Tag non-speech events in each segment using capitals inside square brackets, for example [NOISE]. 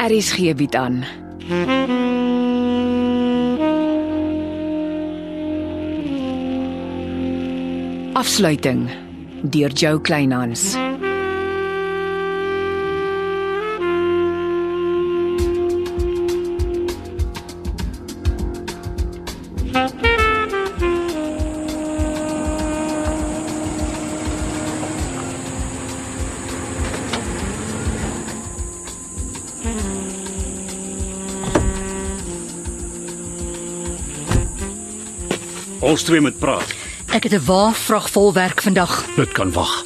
RSG bied Er aan. Afsluiting deur Jo Kleinhans. Ons twee moet praat. Ek het 'n waar vrag vol werk vandag. Dit kan wag.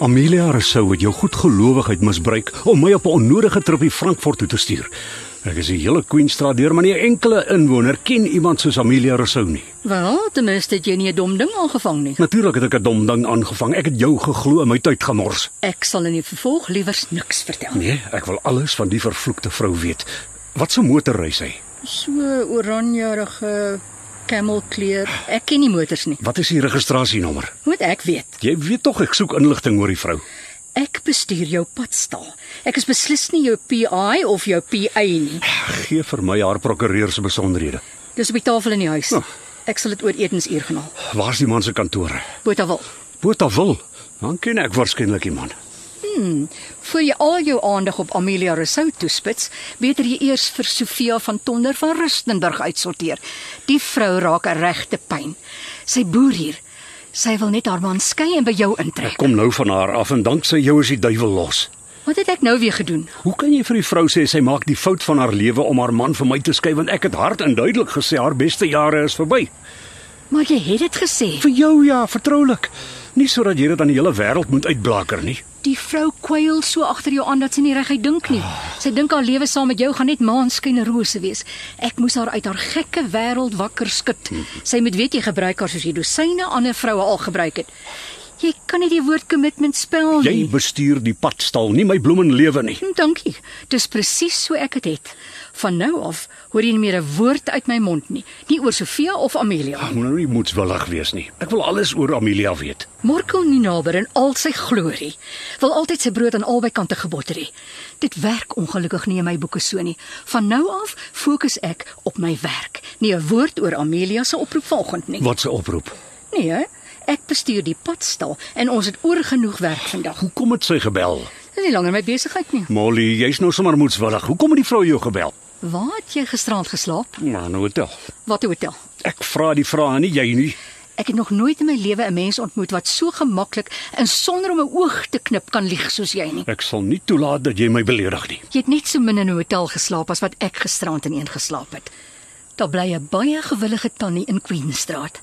Amelia Rousseau het jou goedgeloofigheid misbruik om my op 'n onnodige tripie Frankfurt toe te stuur. Ek is die hele Queenstraat deur, maar nie 'n enkele inwoner ken iemand soos Amelia Rousseau nie. Wel, ten minste het jy nie 'n dom ding aangevang nie. Natuurlik het ek 'n dom ding aangevang. Ek het jou geglo en my tyd gemors. Ek sal in die vervolg liewers niks vertel nie. Nee, ek wil alles van die vervloekte vrou weet. Wat 'n motorry sy? So oranjerige kamelkleur. Ek ken nie motors nie. Wat is die registrasienommer? Moet ek weet. Jy weet tog ek soek inligting oor die vrou. Ek bestuur jou padstal. Ek is beslis nie jou PI of jou PA nie. Gee vir my haar prokureur se besonderhede. Dis op die tafel in die huis. Ek sal dit oor etensuur gaan haal. Waar's die man se kantoor? Botawil. Botawil. Dan ken ek waarskynlik die man. Voor jy al jou aandag op Amelia Rousseau toespits, beter jy eers vir Sofia van Tonder van Rustenburg uitsorteer. Die vrou raak 'n regte pyn. Sy boer hier. Sy wil net haar man skei en by jou Ek intrek. kom nou van haar af en danksy jou is die duiwel los. Wat het ek nou weer gedoen? Hoe kan jy vir die vrou sê sy maak die fout van haar lewe om haar man van my te skei want ek het hard en duidelik gesê haar beste jare is verby. Maar jy het dit gesê. Vir jou ja, vertroulik. Nie sodat jy dit aan die hele wêreld moet uitblaker nie. Die vrou kwyl so agter jou aan dat sy nie reguit dink nie. Sy dink haar lewe saam met jou gaan net maanskyn en rose wees. Ek moes haar uit haar gekke wêreld wakker skud. Sy moet weet jy gebruik haar soos jy dosyne ander vroue al gebruik het. Jy kan nie die woord commitment spel nie. Jy bestuur die padstal, nie my bloemenlewe nie. Hm, Dankie. Dis presies so ek dit het, het. Van nou af hoor jy nie meer 'n woord uit my mond nie, nie oor Sofia of Amelia. Ek moet nou nie moedswillig wees nie. Ek wil alles oor Amelia weet. Morkel Ninaber in al sy glorie wil altyd sy brood aan albei kante gebotter hê. Dit werk ongelukkig nie in my boeke so nie. Van nou af fokus ek op my werk. Nie 'n woord oor Amelia se oproep vanoggend nie. Wat se oproep? Nee, hè? ek bestuur die padstal en ons het oorgenoeg werk vandag. Hoekom het sy gebel? Dit is nie langer my besigheid nie. Molly, jy's nou sommer moedswillig. Hoekom het die vrou jou gebel? Waar het jy gisterand geslaap? Maar nou hotel. Watter hotel? Ek vra die vrae nie jy nie. Ek het nog nooit in my lewe 'n mens ontmoet wat so gemaklik en sonder om 'n oog te knip kan lieg soos jy nie. Ek sal nie toelaat dat jy my beledig nie. Jy het net so min in 'n hotel geslaap as wat ek gisterand in een geslaap het. Daar bly 'n baie gewillige tannie in Queenstraat.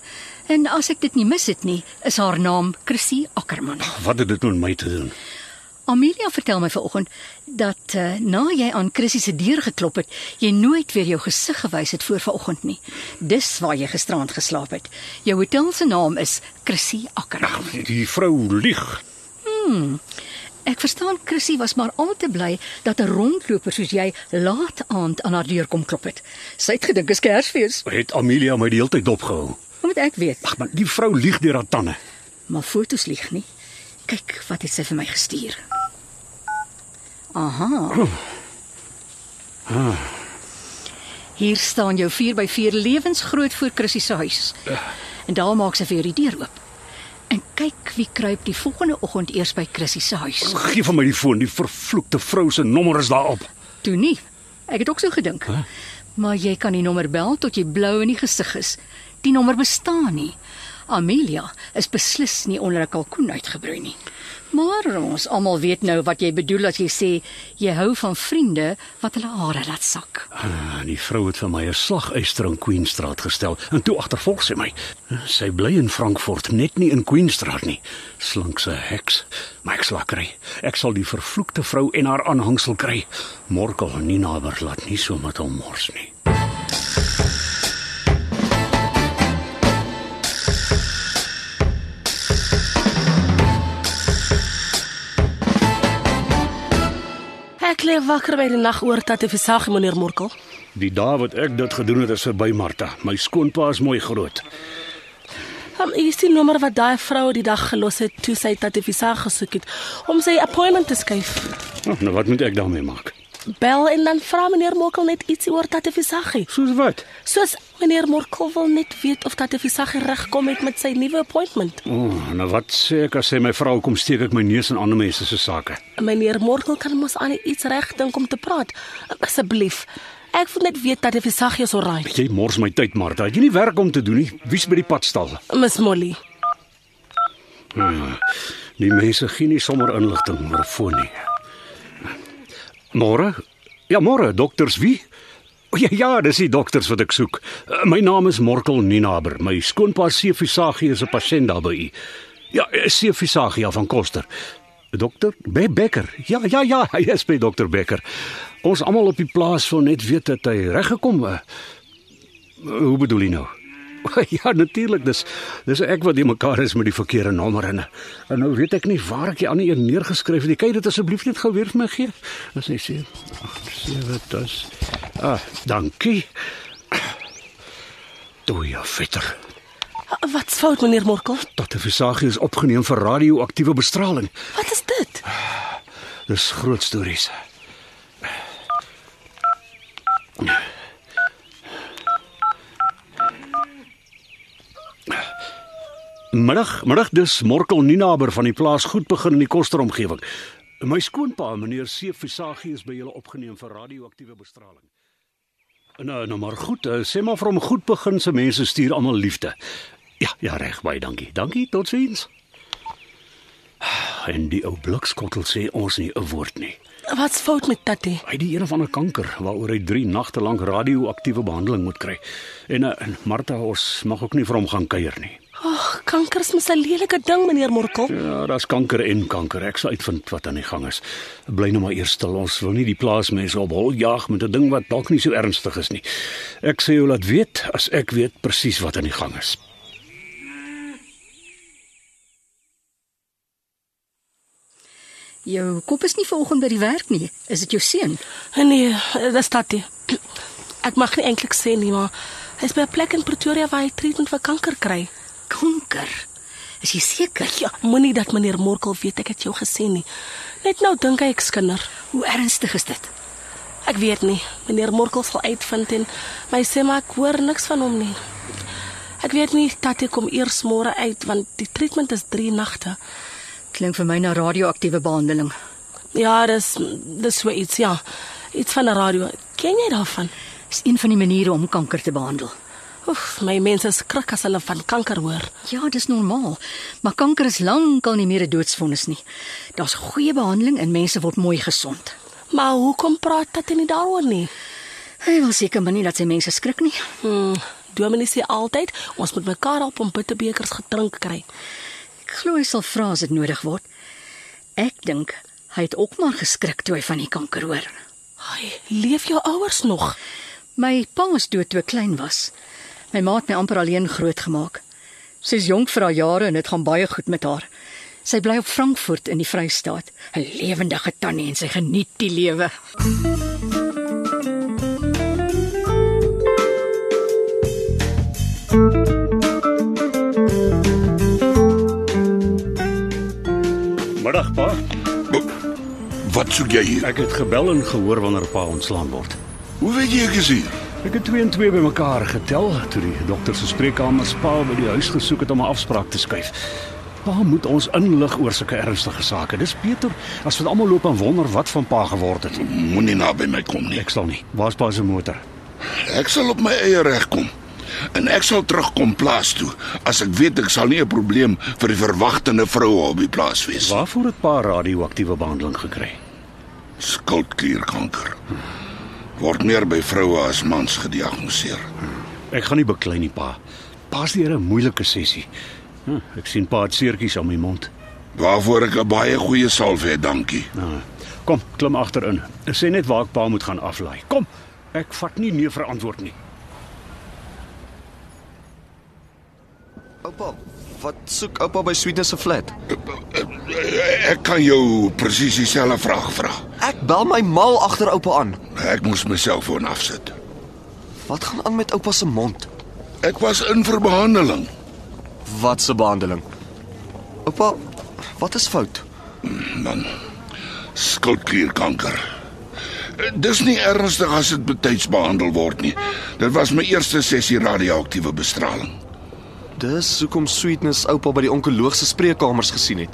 En as ek dit nie mis het nie, is haar naam Chrissy Ackerman. Wat het dit met my te doen? Amelia vertel my vanoggend dat uh, na jy aan Chrissy se deur geklop het, jy nooit weer jou gesig gewys het voor vanoggend nie. Dis waar jy gisterand geslaap het. Jou hotel se naam is Chrissy Ackerman. Die vrou lieg. Ek verstaan Chrissy was maar al te bly dat 'n rondloper soos jy laat aand aan haar deur kom klop het. Sy het gedink is Kersfees. Het Amelia my die hele tyd dopgehou. Hoe moet ek weet? Ag man, die vrou lieg deur haar tande. Maar fotos lieg nie. Kyk wat het sy vir my gestuur. Aha. Hier staan jou 4x4 lewensgroot voor Chrissy se huis. En daar maak sy vir jou die deur oop. En kyk wie kruip die volgende oggend eers by Chrissy se huis. Gee vir my die foon, die vervloekte vrou se nommer is daarop. Toe nie. Ek het ook so gedink. Huh? Maar jy kan die nommer bel tot jy blou in die gesig is. Die nommer bestaan nie. Amelia is beslis nie onder 'n kalkoen uitgebroei nie. Maar ons almal weet nou wat jy bedoel as jy sê jy hou van vriende wat hulle hare laat sak. Ah, die vrou het vir my 'n slaguister in Queenstraat gestel en toe agtervolg sy my. Sy bly in Frankfurt, net nie in Queenstraat nie. Slinkse heks. Maar ek sal kry. Ek sal die vervloekte vrou en haar aanhangsel kry. Morkel en Nina word laat nie so met hom mors nie. Ek lê wakker by die nag oor dat ek versag meneer Morkel. Die dae wat ek dit gedoen het is verby, Martha. My skoonpa is mooi groot. Hom Um, is die nommer wat daai vrou die dag gelos het toe sy dat ek versag gesoek het om sy appointment te skuif. Oh, nou wat moet ek daarmee maak? Bel en dan vra meneer Morkel net ietsie oor Tata Visagie. Soos wat? Soos meneer Morkel wil net weet of Tata Visagie regkom het met sy nuwe appointment. O, oh, nou wat sê ek as sy my vrou kom steek ek my neus in ander mense se sake? Meneer Morkel kan mos aan iets reg dink om te praat. Asseblief. Ek wil net weet Tata Visagie is oral. Jy mors my tyd, Martha. Het jy nie werk om te doen nie? Wie's by die padstal? Miss Molly. Ah, die mense gee nie sommer inligting oor 'n foon nie. Môre? Ja, môre, dokters wie? O, Ja, ja, dis die dokters wat ek soek. Eh, My naam is Morkel Ninaber. My skoonpa Sefisagie is 'n pasiënt daar by u. Ja, eh, Sefisagie van Koster. Dokter Be Becker. Ja, ja, ja, [LAUGHS] hy is by dokter Becker. Ons almal op die plaas wil net weet dat hy eh, reggekom het. Hoe bedoel jy nou? [LAUGHS] Ja, natuurlik, dis dis ek wat die mekaar is met die verkeerde nommer en en nou weet ek nie waar ek die ander een neergeskryf het. nie. Kan jy dit asseblief net gou weer vir my gee? As jy sê, sê wat dit. Ah, dankie. Toe ja, vetter. Wat's fout meneer Morkel? Tot 'n versagie is opgeneem vir radioaktiewe bestraling. Wat is dit? Dis groot stories. Middag, middag dis Morkel Ninaber van die plaas goed begin in die koster omgewing. My skoonpa, meneer C Visagie is by julle opgeneem vir radioaktiewe bestraling. Nou, nou maar goed, eh, sê maar vir hom goed begin se mense stuur almal liefde. Ja, ja reg, baie dankie. Dankie, totsiens. En die ou blikskottel sê ons nie 'n woord nie. Wat's fout met Tati? Hy het die een of ander kanker waaroor hy 3 nagte lank radioaktiewe behandeling moet kry. En eh, en Martha ons mag ook nie vir hom gaan kuier nie. Ag, kanker is mos 'n lelike ding meneer Morkel. Ja, daar's kanker en kanker. Ek sal uitvind wat aan die gang is. Bly nou maar eers stil. Ons wil nie die plaasmense op hol jaag met 'n ding wat dalk nie so ernstig is nie. Ek sê jou laat weet as ek weet presies wat aan die gang is. Jou kop is nie vanoggend by die werk nie. Is dit jou seun? Nee, dis Tati. Ek mag nie eintlik sê nie, maar hy's by 'n plek in Pretoria waar hy treatment vir kanker kry. Kanker. Is jy seker? Ja, moenie dat meneer Morkel weet ek het jou gesê nie. Net nou dink hy ek's kinder. Hoe ernstig is dit? Ek weet nie. Meneer Morkel sal uitvind en my sê maar ek hoor niks van hom nie. Ek weet nie Tati kom eers môre uit want die treatment is 3 nagte. Klink vir my na radioaktiewe behandeling. Ja, dis dis so iets, ja. Iets van 'n radio. Ken jy daarvan? Is een van die maniere om kanker te behandel. Oef, my mense is skrik as hulle van kanker hoor. Ja, dis normaal. Maar kanker is lankal nie meer 'n doodsvonnis nie. Daar's goeie behandeling en mense word mooi gesond. Maar hoekom praat Tati nie daaroor nie? Hy wil seker maar nie dat sy mense skrik nie. Hmm, Dominee sê altyd ons moet mekaar help om bittebekers gedrink kry. Ek glo hy sal vra as dit nodig word. Ek dink hy het ook maar geskrik toe hy van die kanker hoor. Ai, leef jou ouers nog? My pa is dood toe ek klein was. My ma het my amper alleen grootgemaak. Sy's jonk vir haar jare en dit gaan baie goed met haar. Sy bly op Frankfurt in die Vrystaat, 'n lewendige tannie en sy geniet die lewe. Middag pa. Wat soek jy hier? Ek het gebel en gehoor wanneer pa ontslaan word. Hoe weet jy ek is hier? Ek het 2 en 2 bymekaar getel toe die dokter se spreekkamer spa by die huis gesoek het om 'n afspraak te skuif. Pa moet ons inlig oor sulke ernstige sake. Dis beter as wat almal loop en wonder wat van pa geword het. Moenie naby my kom nie. Ek sal nie. Waar's pa se motor? Ek sal op my eie reg kom. En ek sal terugkom plaas toe as ek weet ek sal nie 'n probleem vir die verwagtende vroue op die plaas wees. Waarvoor het pa radioaktiewe behandeling gekry? Skildklierkanker word meer by vroue as mans gediagnoseer. Ek gaan nie beklei nie, pa. Pa's hier 'n moeilike sessie. Hm, ek sien pa het seertjies aan my mond. Waarvoor ek 'n baie goeie salf het, dankie. Nou, kom, klim agterin. Ek sê net waar ek pa moet gaan aflaai. Kom. Ek vat nie nee vir antwoord nie. Oupa, wat soek oupa by Sweetness se flat? Eh, Ek kan jou presies dieselfde vraag vra. Ek bel my mal agter oupa aan. Ek moes my selfoon afsit. Wat gaan aan met oupa se mond? Ek was in vir behandeling. Wat se behandeling? Oupa, wat is fout? man. Skildklierkanker. Dis nie ernstig as dit betyds behandel word nie. Dit was my eerste sessie radioaktiewe bestraling. Dis hoekom Sweetness oupa by die onkoloog se spreekkamers gesien het.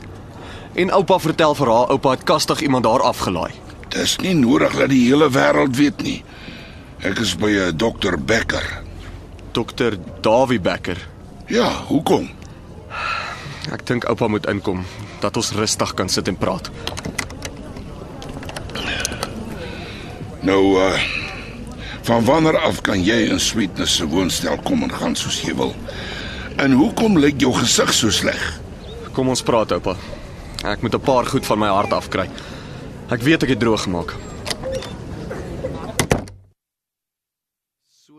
En oupa vertel vir haar oupa het kastig iemand daar afgelaai. Dis nie nodig dat die hele wêreld weet nie. Ek is by 'n dokter Becker. Dokter Dawie Becker. Ja, hoekom? Ek dink oupa moet inkom dat ons rustig kan sit en praat. Nou uh van wanneer af kan jy in Sweetness se woonstel kom en gaan soos jy wil? En hoekom lyk jou gesig so sleg? Kom ons praat oupa. Ek moet 'n paar goed van my hart afkry. Ek weet ek het droog gemaak. So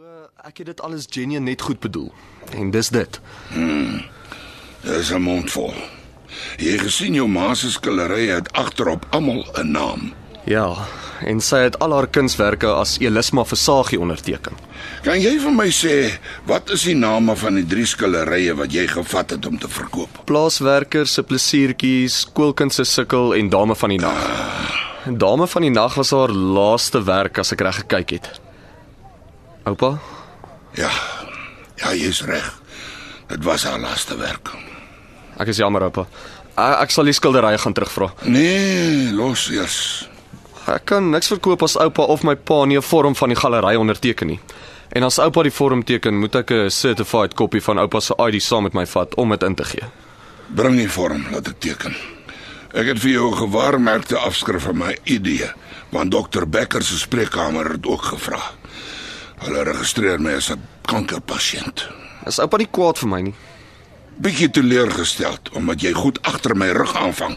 ek het dit alles genuen net goed bedoel. En dis dit. Dis 'n mond vol. Jy gesien jou ma se skillerye het agterop almal 'n naam. Ja, en sy het al haar kunswerke as Elisma Versagie onderteken. Kan jy vir my sê wat is die name van die drie skillerye wat jy gevat het om te verkoop? Plaaswerker se plesiertjies, skoolkind se sukkel en dame van die nag. Dame van die nag was haar laaste werk as ek reg gekyk het. Oupa, Ja. Ja, jy's reg. Dit was haar laaste werk. ek is jammer oupa. Ek, ek sal die skilderye gaan terugvra. Nee, los eers. Ek kan niks verkoop as oupa of my pa nie 'n vorm van die galery onderteken nie. En as oupa die vorm teken, moet ek 'n certified kopie van oupa se ID saam met my vat om dit in te gee. Bring die vorm, laat ek teken. Ek het vir jou 'n gewaarmerkte afskrif van my idee, want dokter Becker se spreekkamer het ook gevra. Hulle registreer my as 'n kankerpasiënt. Is oupa nie kwaad vir my nie. Bietjie teleurgesteld omdat jy goed agter my rug aanvang.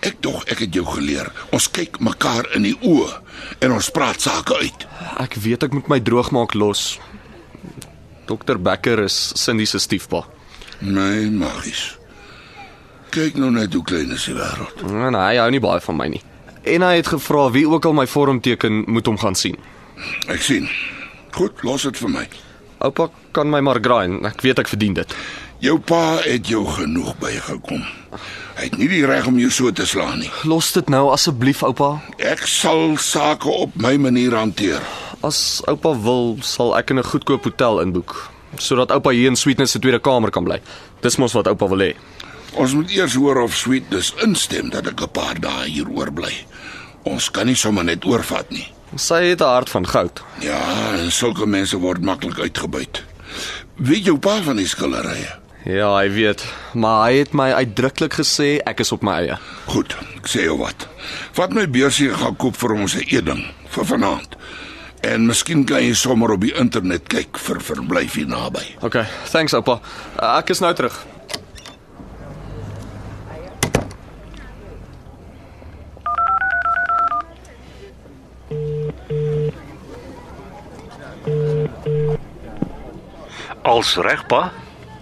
Ek dog ek het jou geleer. Ons kyk mekaar in die oë en ons praat sake uit. Ek weet ek moet my droogmaak los. Dokter Becker is Cindy se stiefpa. Nee, magies. Kyk nou net hoe klein is die wêreld. En hy hou nie baie van my nie. En hy het gevra wie ook al my vorm teken moet hom gaan sien. Ek sien. Goed, los dit vir my. Oupa kan my maar grind. Ek weet ek verdien dit. Jou pa het jou genoeg bygekom. Hy het nie die reg om jou so te slaan nie. Los dit nou asseblief oupa. Ek sal sake op my manier hanteer. As oupa wil, sal ek in 'n goedkoop hotel inboek sodat oupa hier in Sweetness se tweede kamer kan bly. Dis mos wat oupa wil hê. Ons moet eers hoor of Sweet dus instem dat ek 'n paar dae hier oorbly. Ons kan nie sommer net oorvat nie. Sy het 'n hart van goud. Ja, en sulke mense word maklik uitgebuit. Weet jou pa van die skillerye? Ja, hy weet, maar hy het my uitdruklik gesê ek is op my eie. Goed, ek sê jou wat. Vat my beursie en gaan koop vir ons 'n eetding vir vanaand. En miskien kan jy sommer op die internet kyk vir verblyf hier naby. Okay, thanks oupa. Ek is nou terug. Als regpa,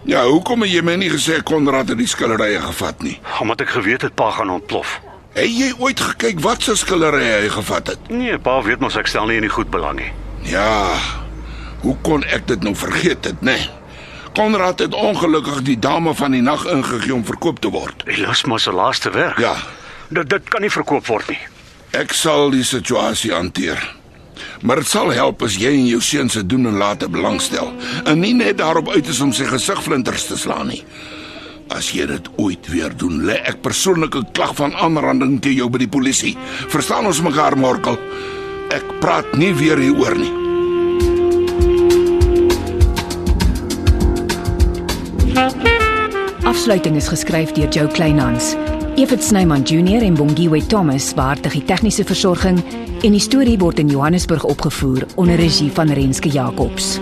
Ja, hoekom het jy my nie gesê Konrad het die skilderye gevat nie? omdat ek geweet het pa gaan ontplof. Het jy ooit gekyk wat se skilderye hy gevat het? Nee, pa weet mos ek stel nie in die goed belang nie. Ja. Hoe kon ek dit nou vergeet het, né? Nee? Konrad het ongelukkig die dame van die nag ingegee om verkoop te word. Elisma se laaste werk. Ja, Dit dit kan nie verkoop word nie. ek sal die situasie hanteer. Maar dit sal help as jy en jou seun se doen en late belangstel en nie net daarop uit is om sy gesig flinters te slaan nie. As jy dit ooit weer doen, lê ek persoonlik 'n klag van aanranding teen jou by die polisie. Verstaan ons mekaar, Morkel? Ek praat nie weer hieroor nie. Afsluiting is geskryf deur Jo Kleinhans. Evit Snyman Junior en Bongwe Thomas beheer die tegniese versorging en die storie word in Johannesburg opgevoer onder regie van Renske Jacobs.